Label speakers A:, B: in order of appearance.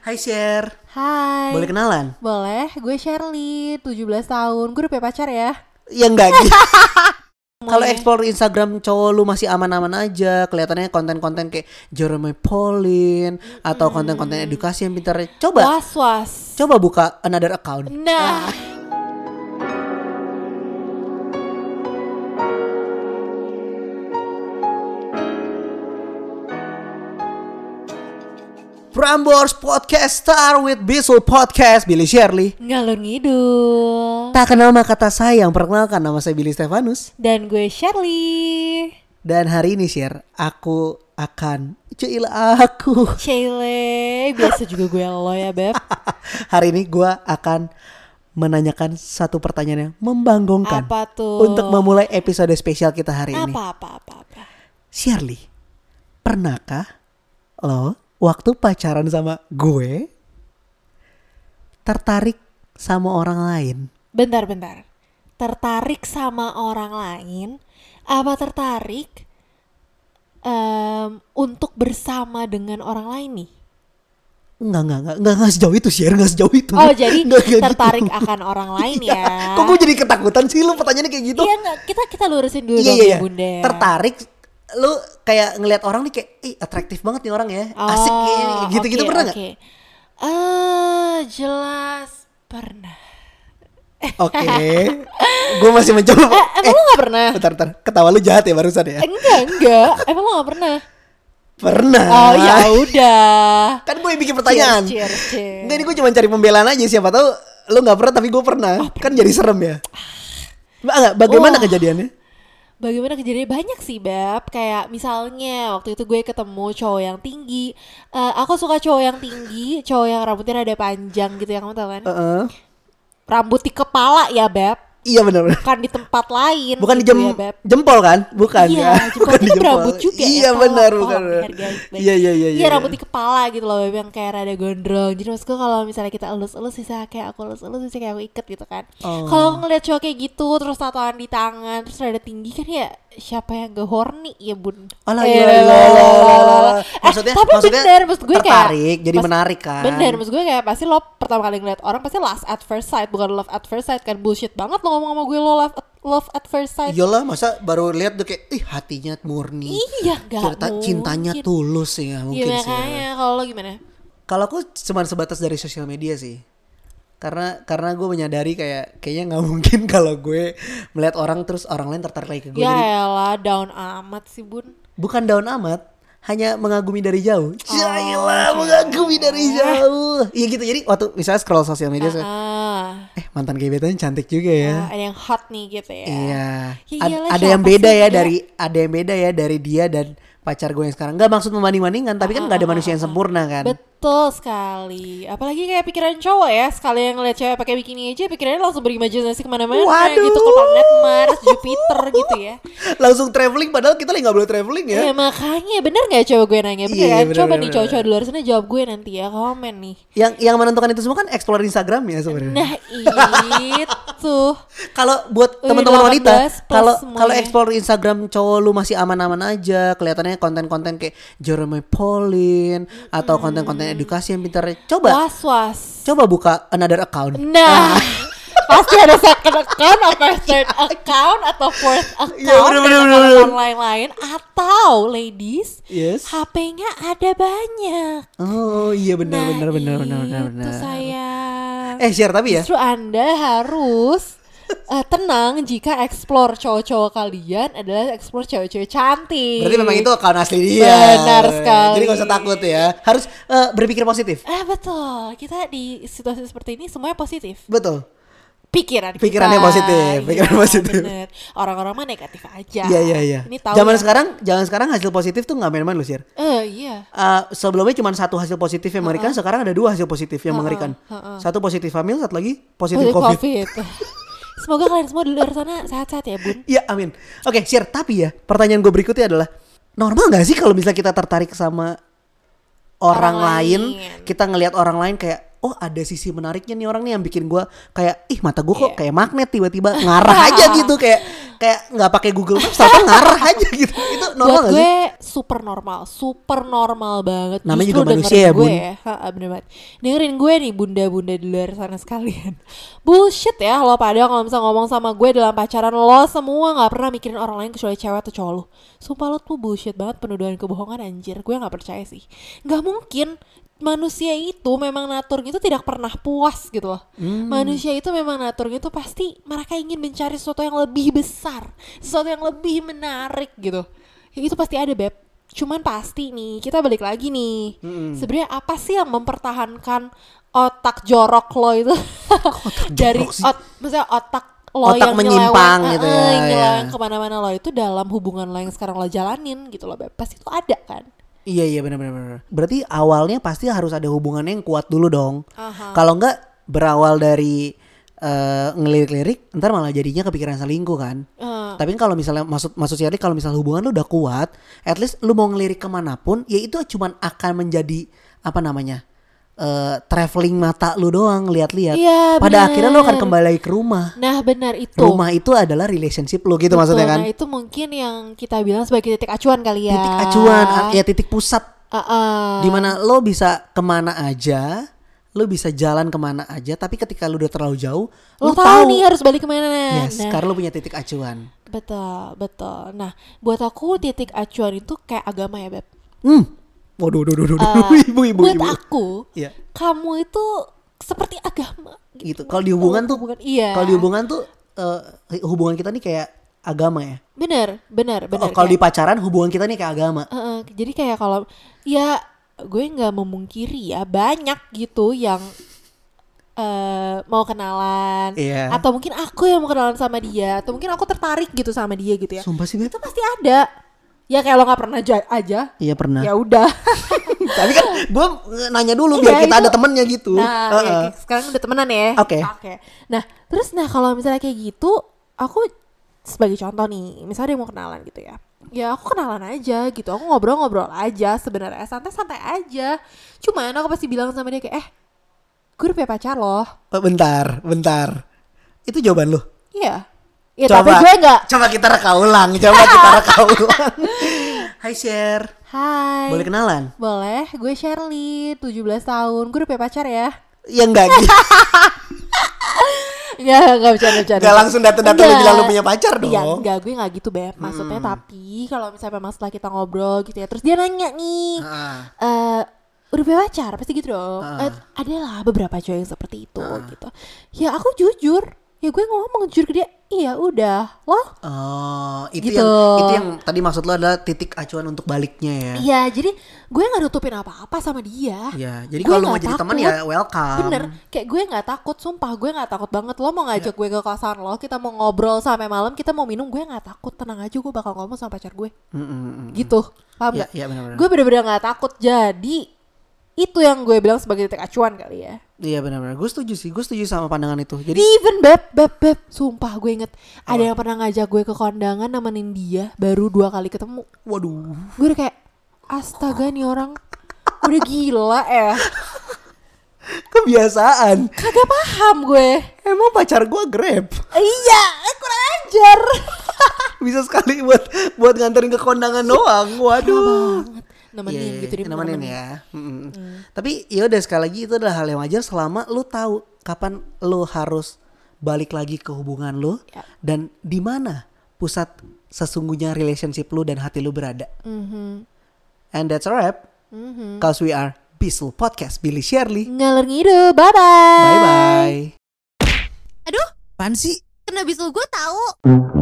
A: Hai Share,
B: Hai.
A: boleh kenalan?
B: Boleh, gue Shirley, 17 tahun. Gue udah punya pacar ya.
A: Ya enggak gitu. Kalau
B: Semuanya.
A: explore Instagram cowok lu masih aman-aman aja, kelihatannya konten-konten kayak Jeremy Pauline
B: Hmm.
A: atau konten-konten edukasi yang pintar. Coba,
B: Was-was.
A: coba buka another account. Ah.
B: Nah.
A: Prambors Podcast Star with Bisul Podcast Billy Shirley.
B: Ngalur ngidul.
A: Tak kenal maka kata sayang, perkenalkan nama saya Billy Stefanus
B: Dan gue Shirley.
A: dan hari ini Share aku akan Cuila aku.
B: Shirley, biasa juga gue lo ya, Beb.
A: Hari ini gue akan menanyakan satu pertanyaan yang membanggongkan
B: Apa tuh?
A: untuk memulai episode spesial kita hari ini.
B: Apa apa apa apa.
A: Shirley, pernahkah lo waktu pacaran sama gue tertarik sama orang lain?
B: Bentar bentar. Tertarik sama orang lain apa tertarik em, untuk bersama dengan orang lain nih?
A: Enggak, enggak, enggak, enggak, enggak sejauh itu Shir, enggak sejauh itu.
B: Oh, jadi
A: Enggak, enggak gitu. Iya.
B: tertarik akan orang lain ya.
A: Kok gue jadi ketakutan sih lu pertanyaannya kayak gitu?
B: Iya nggak, kita kita lurusin dulu
A: Iya,
B: dong
A: iya,
B: ya
A: iya.
B: Bunda.
A: Tertarik lu kayak ngelihat orang nih kayak, ih atraktif banget nih orang ya, asik kayaknya."
B: Oh,
A: gitu-gitu
B: oke,
A: pernah nggak?
B: oke. Eh, jelas pernah.
A: Oke, gue masih mencoba.
B: Eh, emang lo nggak pernah?
A: Bentar, bentar. Ketawa lu jahat ya barusan ya?
B: Enggak, enggak. Emang lo nggak pernah?
A: Pernah.
B: Oh ya udah.
A: Kan gue yang bikin Ah. pertanyaan.
B: Cheers, cheers, cheers.
A: Enggak, ini gue cuma cari pembelaan aja. Siapa tahu lu nggak pernah tapi gue pernah.
B: Oh,
A: Kan jadi serem ya. Ba- enggak, bagaimana
B: Wah.
A: kejadiannya?
B: Bagaimana kejadiannya banyak sih Beb Kayak misalnya waktu itu gue ketemu cowok yang tinggi Eh, Aku suka cowok yang tinggi Cowok yang rambutnya rada panjang gitu ya kamu tau kan
A: Heeh.
B: Rambut di kepala ya Beb
A: Iya benar.
B: Bukan di tempat lain
A: Bukan di
B: gitu
A: jem-
B: ya, Beb.
A: jempol kan? Bukan ya.
B: iya, jempol
A: Bukan
B: itu kan berambut juga
A: Iya
B: ya,
A: benar,
B: tolong,
A: bukan.
B: tolong dihargai sebagai-
A: Iya, iya, iya,
B: Iya rambut di kepala gitu loh Beb, Yang kayak rada gondrong Jadi maksud gue kalau misalnya kita elus-elus Bisa kayak aku elus-elus Bisa kayak aku iket gitu kan
A: Oh.
B: Kalau aku ngeliat cowok kayak gitu Terus tatoan di tangan Terus rada tinggi kan ya Siapa yang gak horny ya bun
A: Alah, iya,
B: Eh,
A: gila, gila, gila, gila, gila.
B: Eh, tapi bener Maksud gue kayak
A: tertarik, jadi
B: Mas-
A: menarik kan.
B: Bener, maksud gue kayak pasti lo pertama kali ngeliat orang pasti last at first sight, bukan love at first sight kan bullshit banget lo ngomong sama gue lo love at, love at first sight.
A: Iyalah masa baru lihat tuh kayak ih hatinya murni.
B: Iya, gak
A: Cerita-
B: mungkin.
A: cintanya tulus ya
B: Iya
A: mungkin sih.
B: makanya kalau lo gimana?
A: Kalau aku cuma sebatas dari sosial media sih. Karena karena gue menyadari kayak kayaknya nggak mungkin kalau gue melihat orang terus orang lain tertarik lagi ke gue.
B: Ya
A: Jadi
B: elah down amat sih bun.
A: bukan down amat, hanya mengagumi dari jauh.
B: Oh.
A: Jailah mengagumi dari jauh. Iya gitu. Jadi waktu misalnya scroll sosial media, saya,
B: Ya. Ah,
A: eh mantan gebetannya cantik juga ya.
B: ah, ada yang hot nih gitu ya.
A: Iya.
B: Ya
A: Ad-
B: iyalah,
A: ada yang
B: siapa
A: beda
B: sih Iya,
A: ya
B: enggak?
A: dari ada yang beda ya dari dia dan pacar gue yang sekarang. Gak maksud membanding-bandingkan, tapi kan nggak ada manusia
B: Ah.
A: yang sempurna kan.
B: Betul sekali. Apalagi kayak pikiran cowok ya, sekali yang ngeliat cewek pakai bikini aja, pikirannya langsung berimajinasi kemana-mana
A: Waduh.
B: gitu ke planet Mars, Jupiter gitu ya.
A: Langsung traveling padahal kita lagi nggak boleh traveling ya.
B: Ya makanya bener nggak coba gue nanya bener
A: Iya,
B: kan?
A: bener,
B: coba
A: bener,
B: nih cowok-cowok di luar sana jawab gue nanti ya komen nih.
A: Yang yang menentukan itu semua kan explore Instagram ya sebenarnya.
B: Nah itu
A: Kalau buat
B: Udah
A: teman-teman wanita,
B: 18 plus
A: kalau
B: semuanya.
A: kalau explore Instagram cowok lu masih aman-aman aja, kelihatannya konten-konten kayak Jeremy Pauline atau
B: Hmm.
A: konten-konten edukasi yang pintar. Coba
B: was was.
A: coba buka another account.
B: Nah
A: Ah.
B: pasti ada second account atau third account atau fourth account
A: Iya, bener, bener,
B: dan
A: bener, bener.
B: account lain-lain atau ladies
A: Yes.
B: HP-nya ada banyak.
A: Oh iya benar benar
B: nah,
A: benar benar benar
B: itu
A: benar.
B: sayang.
A: Eh share tapi ya.
B: Justru Anda harus eh, tenang jika explore cowok-cowok kalian adalah explore cowok-cowok cantik.
A: Berarti memang itu account asli dia.
B: Benar sekali.
A: Jadi gak usah takut ya. Harus eh, berpikir positif.
B: Ah betul, kita di situasi seperti ini semuanya positif.
A: Betul.
B: Pikiran
A: Pikirannya
B: kita.
A: positif, pikiran
B: Iya,
A: positif.
B: bener. Orang-orang mah negatif aja.
A: Iya iya iya.
B: Ya, Ini tahu.
A: Zaman
B: ya.
A: sekarang, zaman sekarang hasil positif tuh nggak main-main loh sir.
B: Eh iya.
A: Eh, sebelumnya cuma satu hasil positif yang mengerikan, sekarang ada dua hasil positif yang mengerikan. Satu positif hamil, satu lagi positif
B: Positif
A: covid.
B: COVID. Semoga kalian semua di luar sana sehat-sehat ya, Bun.
A: Iya amin. Oke share tapi ya pertanyaan gue berikutnya adalah normal nggak sih kalau misalnya kita tertarik sama orang,
B: Orang
A: lain,
B: lain.
A: kita ngelihat orang lain kayak oh ada sisi menariknya nih orang nih yang bikin gue kayak ih mata gue kok
B: Iya.
A: kayak magnet tiba-tiba ngarah aja gitu kayak kayak nggak pakai Google Maps tapi ngarah aja gitu itu normal
B: Buat
A: nggak sih
B: gue super normal, super normal banget.
A: Namanya
B: Justru
A: juga manusia
B: dengerin
A: ya, Bun.
B: Gue ya. Ha, ha, bener banget. Dengerin gue nih bunda-bunda di luar sana sekalian. Bullshit ya lo pada kalau misalnya ngomong sama gue dalam pacaran lo semua nggak pernah mikirin orang lain kecuali cewek atau cowok lo. Sumpah lo tuh bullshit banget penuduhan kebohongan anjir. Gue nggak percaya sih. Nggak mungkin manusia itu memang naturnya itu tidak pernah puas gitu loh.
A: Hmm.
B: Manusia itu memang naturnya itu pasti mereka ingin mencari sesuatu yang lebih besar, sesuatu yang lebih menarik gitu. Ya, itu pasti ada beb cuman pasti nih kita balik lagi nih sebenarnya apa sih yang mempertahankan otak jorok lo itu dari
A: jorok sih?
B: ot maksudnya otak lo
A: Otak
B: yang
A: menyimpang
B: nyeleweng,
A: gitu ya,
B: eh, yang
A: ya.
B: nyeleweng kemana-mana lo itu dalam hubungan lo yang sekarang lo jalanin gitu loh beb pasti itu ada kan
A: iya iya benar-benar berarti awalnya pasti harus ada hubungannya yang kuat dulu dong
B: Aha.
A: kalau nggak berawal dari eh, ngelirik-lirik ntar malah jadinya kepikiran selingkuh kan
B: Eh,
A: Tapi kalau misalnya maksud maksud Shirley kalau misalnya hubungan lu udah kuat, at least lu mau ngelirik kemanapun, ya itu cuman akan menjadi apa namanya eh, traveling mata lu doang lihat-lihat.
B: Iya,
A: Pada akhirnya lu akan
B: bener.
A: kembali lagi ke rumah.
B: nah benar itu
A: Rumah itu adalah relationship lu gitu
B: Betul,
A: maksudnya kan.
B: nah itu mungkin yang kita bilang sebagai titik acuan kali ya
A: Titik acuan, a- ya titik pusat
B: Eh, eh.
A: di mana lo bisa kemana aja, lo bisa jalan kemana aja. Tapi ketika lu udah terlalu jauh, lu
B: lo tahu, nih harus balik kemana
A: Yes,
B: Nah,
A: karena lu punya titik acuan.
B: Betul, betul. Nah, buat aku titik acuan itu kayak agama ya, Beb.
A: Hmm. Waduh, waduh, waduh, waduh,
B: Eh,
A: ibu, ibu,
B: buat
A: ibu.
B: aku,
A: Iya.
B: kamu itu seperti agama.
A: gitu. Kalau di hubungan tuh,
B: Hubungan- iya.
A: Kalau di hubungan tuh eh, hubungan kita nih kayak agama ya.
B: Bener, bener, bener.
A: Oh, kalau di
B: kayak-
A: pacaran hubungan kita nih kayak agama.
B: Eh, eh, jadi kayak kalau ya gue nggak memungkiri ya banyak gitu yang eh mau kenalan
A: Iya.
B: atau mungkin aku yang mau kenalan sama dia atau mungkin aku tertarik gitu sama dia gitu ya.
A: Sumpah sih Beb.
B: Itu pasti ada. Ya kayak lo nggak pernah ja- aja.
A: Iya pernah.
B: Ya udah.
A: Tapi kan gue nanya dulu
B: Iya,
A: biar kita
B: itu-
A: ada temennya gitu.
B: Nah,
A: Heeh.
B: iya, oke. sekarang udah temenan ya.
A: Oke.
B: Nah, terus nah kalau misalnya kayak gitu, aku sebagai contoh nih, misalnya dia mau kenalan gitu ya. Ya aku kenalan aja gitu, aku ngobrol-ngobrol aja sebenarnya santai-santai aja. Cuman aku pasti bilang sama dia kayak, eh, gue udah punya pacar loh.
A: Oh, Bentar, bentar. Itu jawaban lu.
B: Iya. Ya tapi gue nggak.
A: Coba kita reka ulang. Coba kita reka ulang. Hai share.
B: Hai.
A: Boleh kenalan?
B: Boleh, gue Shirley, 17 tahun, gue udah punya pacar ya.
A: Ya enggak gitu.
B: Enggak, enggak bercanda-bercanda.
A: Nggak langsung dateng-dateng lu
B: Enggak.
A: bilang lu punya pacar dong. Hmm.
B: Iya, enggak, gue enggak gitu, Beb. Maksudnya tapi kalau misalnya memang setelah kita ngobrol gitu ya, terus dia nanya nih, eh
A: Ah.
B: udah punya pacar? Pasti gitu dong. Eh, adalah beberapa cowok yang seperti itu
A: Ah.
B: gitu. Ya aku jujur, ya gue ngomong jujur ke dia, iya udah, loh.
A: Oh, itu
B: Gitu.
A: yang itu yang tadi maksud lu adalah titik acuan untuk baliknya ya.
B: Iya, jadi gue nggak nutupin apa-apa sama dia.
A: Iya, jadi
B: Gue
A: kalau lu mau
B: nggak
A: jadi teman
B: takut.
A: ya welcome.
B: Bener, kayak gue nggak takut, sumpah gue nggak takut banget. Lo mau ngajak gue ke kosan lo, kita mau ngobrol sampai malam, kita mau minum, gue nggak takut. Tenang aja, gue bakal ngomong sama pacar gue.
A: Mm-mm.
B: Gitu, paham
A: Iya,
B: nggak?
A: iya benar-benar.
B: Gue bener-bener nggak takut. Jadi itu yang gue bilang sebagai titik acuan kali ya.
A: Iya benar-benar. Gue setuju sih. Gue setuju sama pandangan itu. Jadi
B: Even beb, beb, beb, sumpah gue inget ada yang pernah ngajak gue ke kondangan nemenin dia baru dua kali ketemu.
A: waduh.
B: Gue udah kayak astaga nih orang udah gila ya.
A: Kebiasaan.
B: Kagak paham gue.
A: Emang pacar gue Grab.
B: Iya, eh, kurang ajar.
A: Bisa sekali buat buat nganterin ke kondangan doang. Waduh.
B: Banget. Nemenin
A: Iya, iya,
B: gitu dia Iya.
A: nemenin ya. Mm-mm. Tapi ya udah sekali lagi itu adalah hal yang wajar selama lu tahu kapan lu harus balik lagi ke hubungan lu
B: Ya.
A: dan di mana pusat sesungguhnya relationship lu dan hati lu berada.
B: Mhm,
A: And that's a wrap.
B: mhm.
A: Cause we are Bisul Podcast Billy Shirley.
B: Ngalur ngidul, bye-bye.
A: Bye bye.
C: Aduh,
A: Apaan sih?
C: kena bisul gue tahu.
D: Mm-hmm.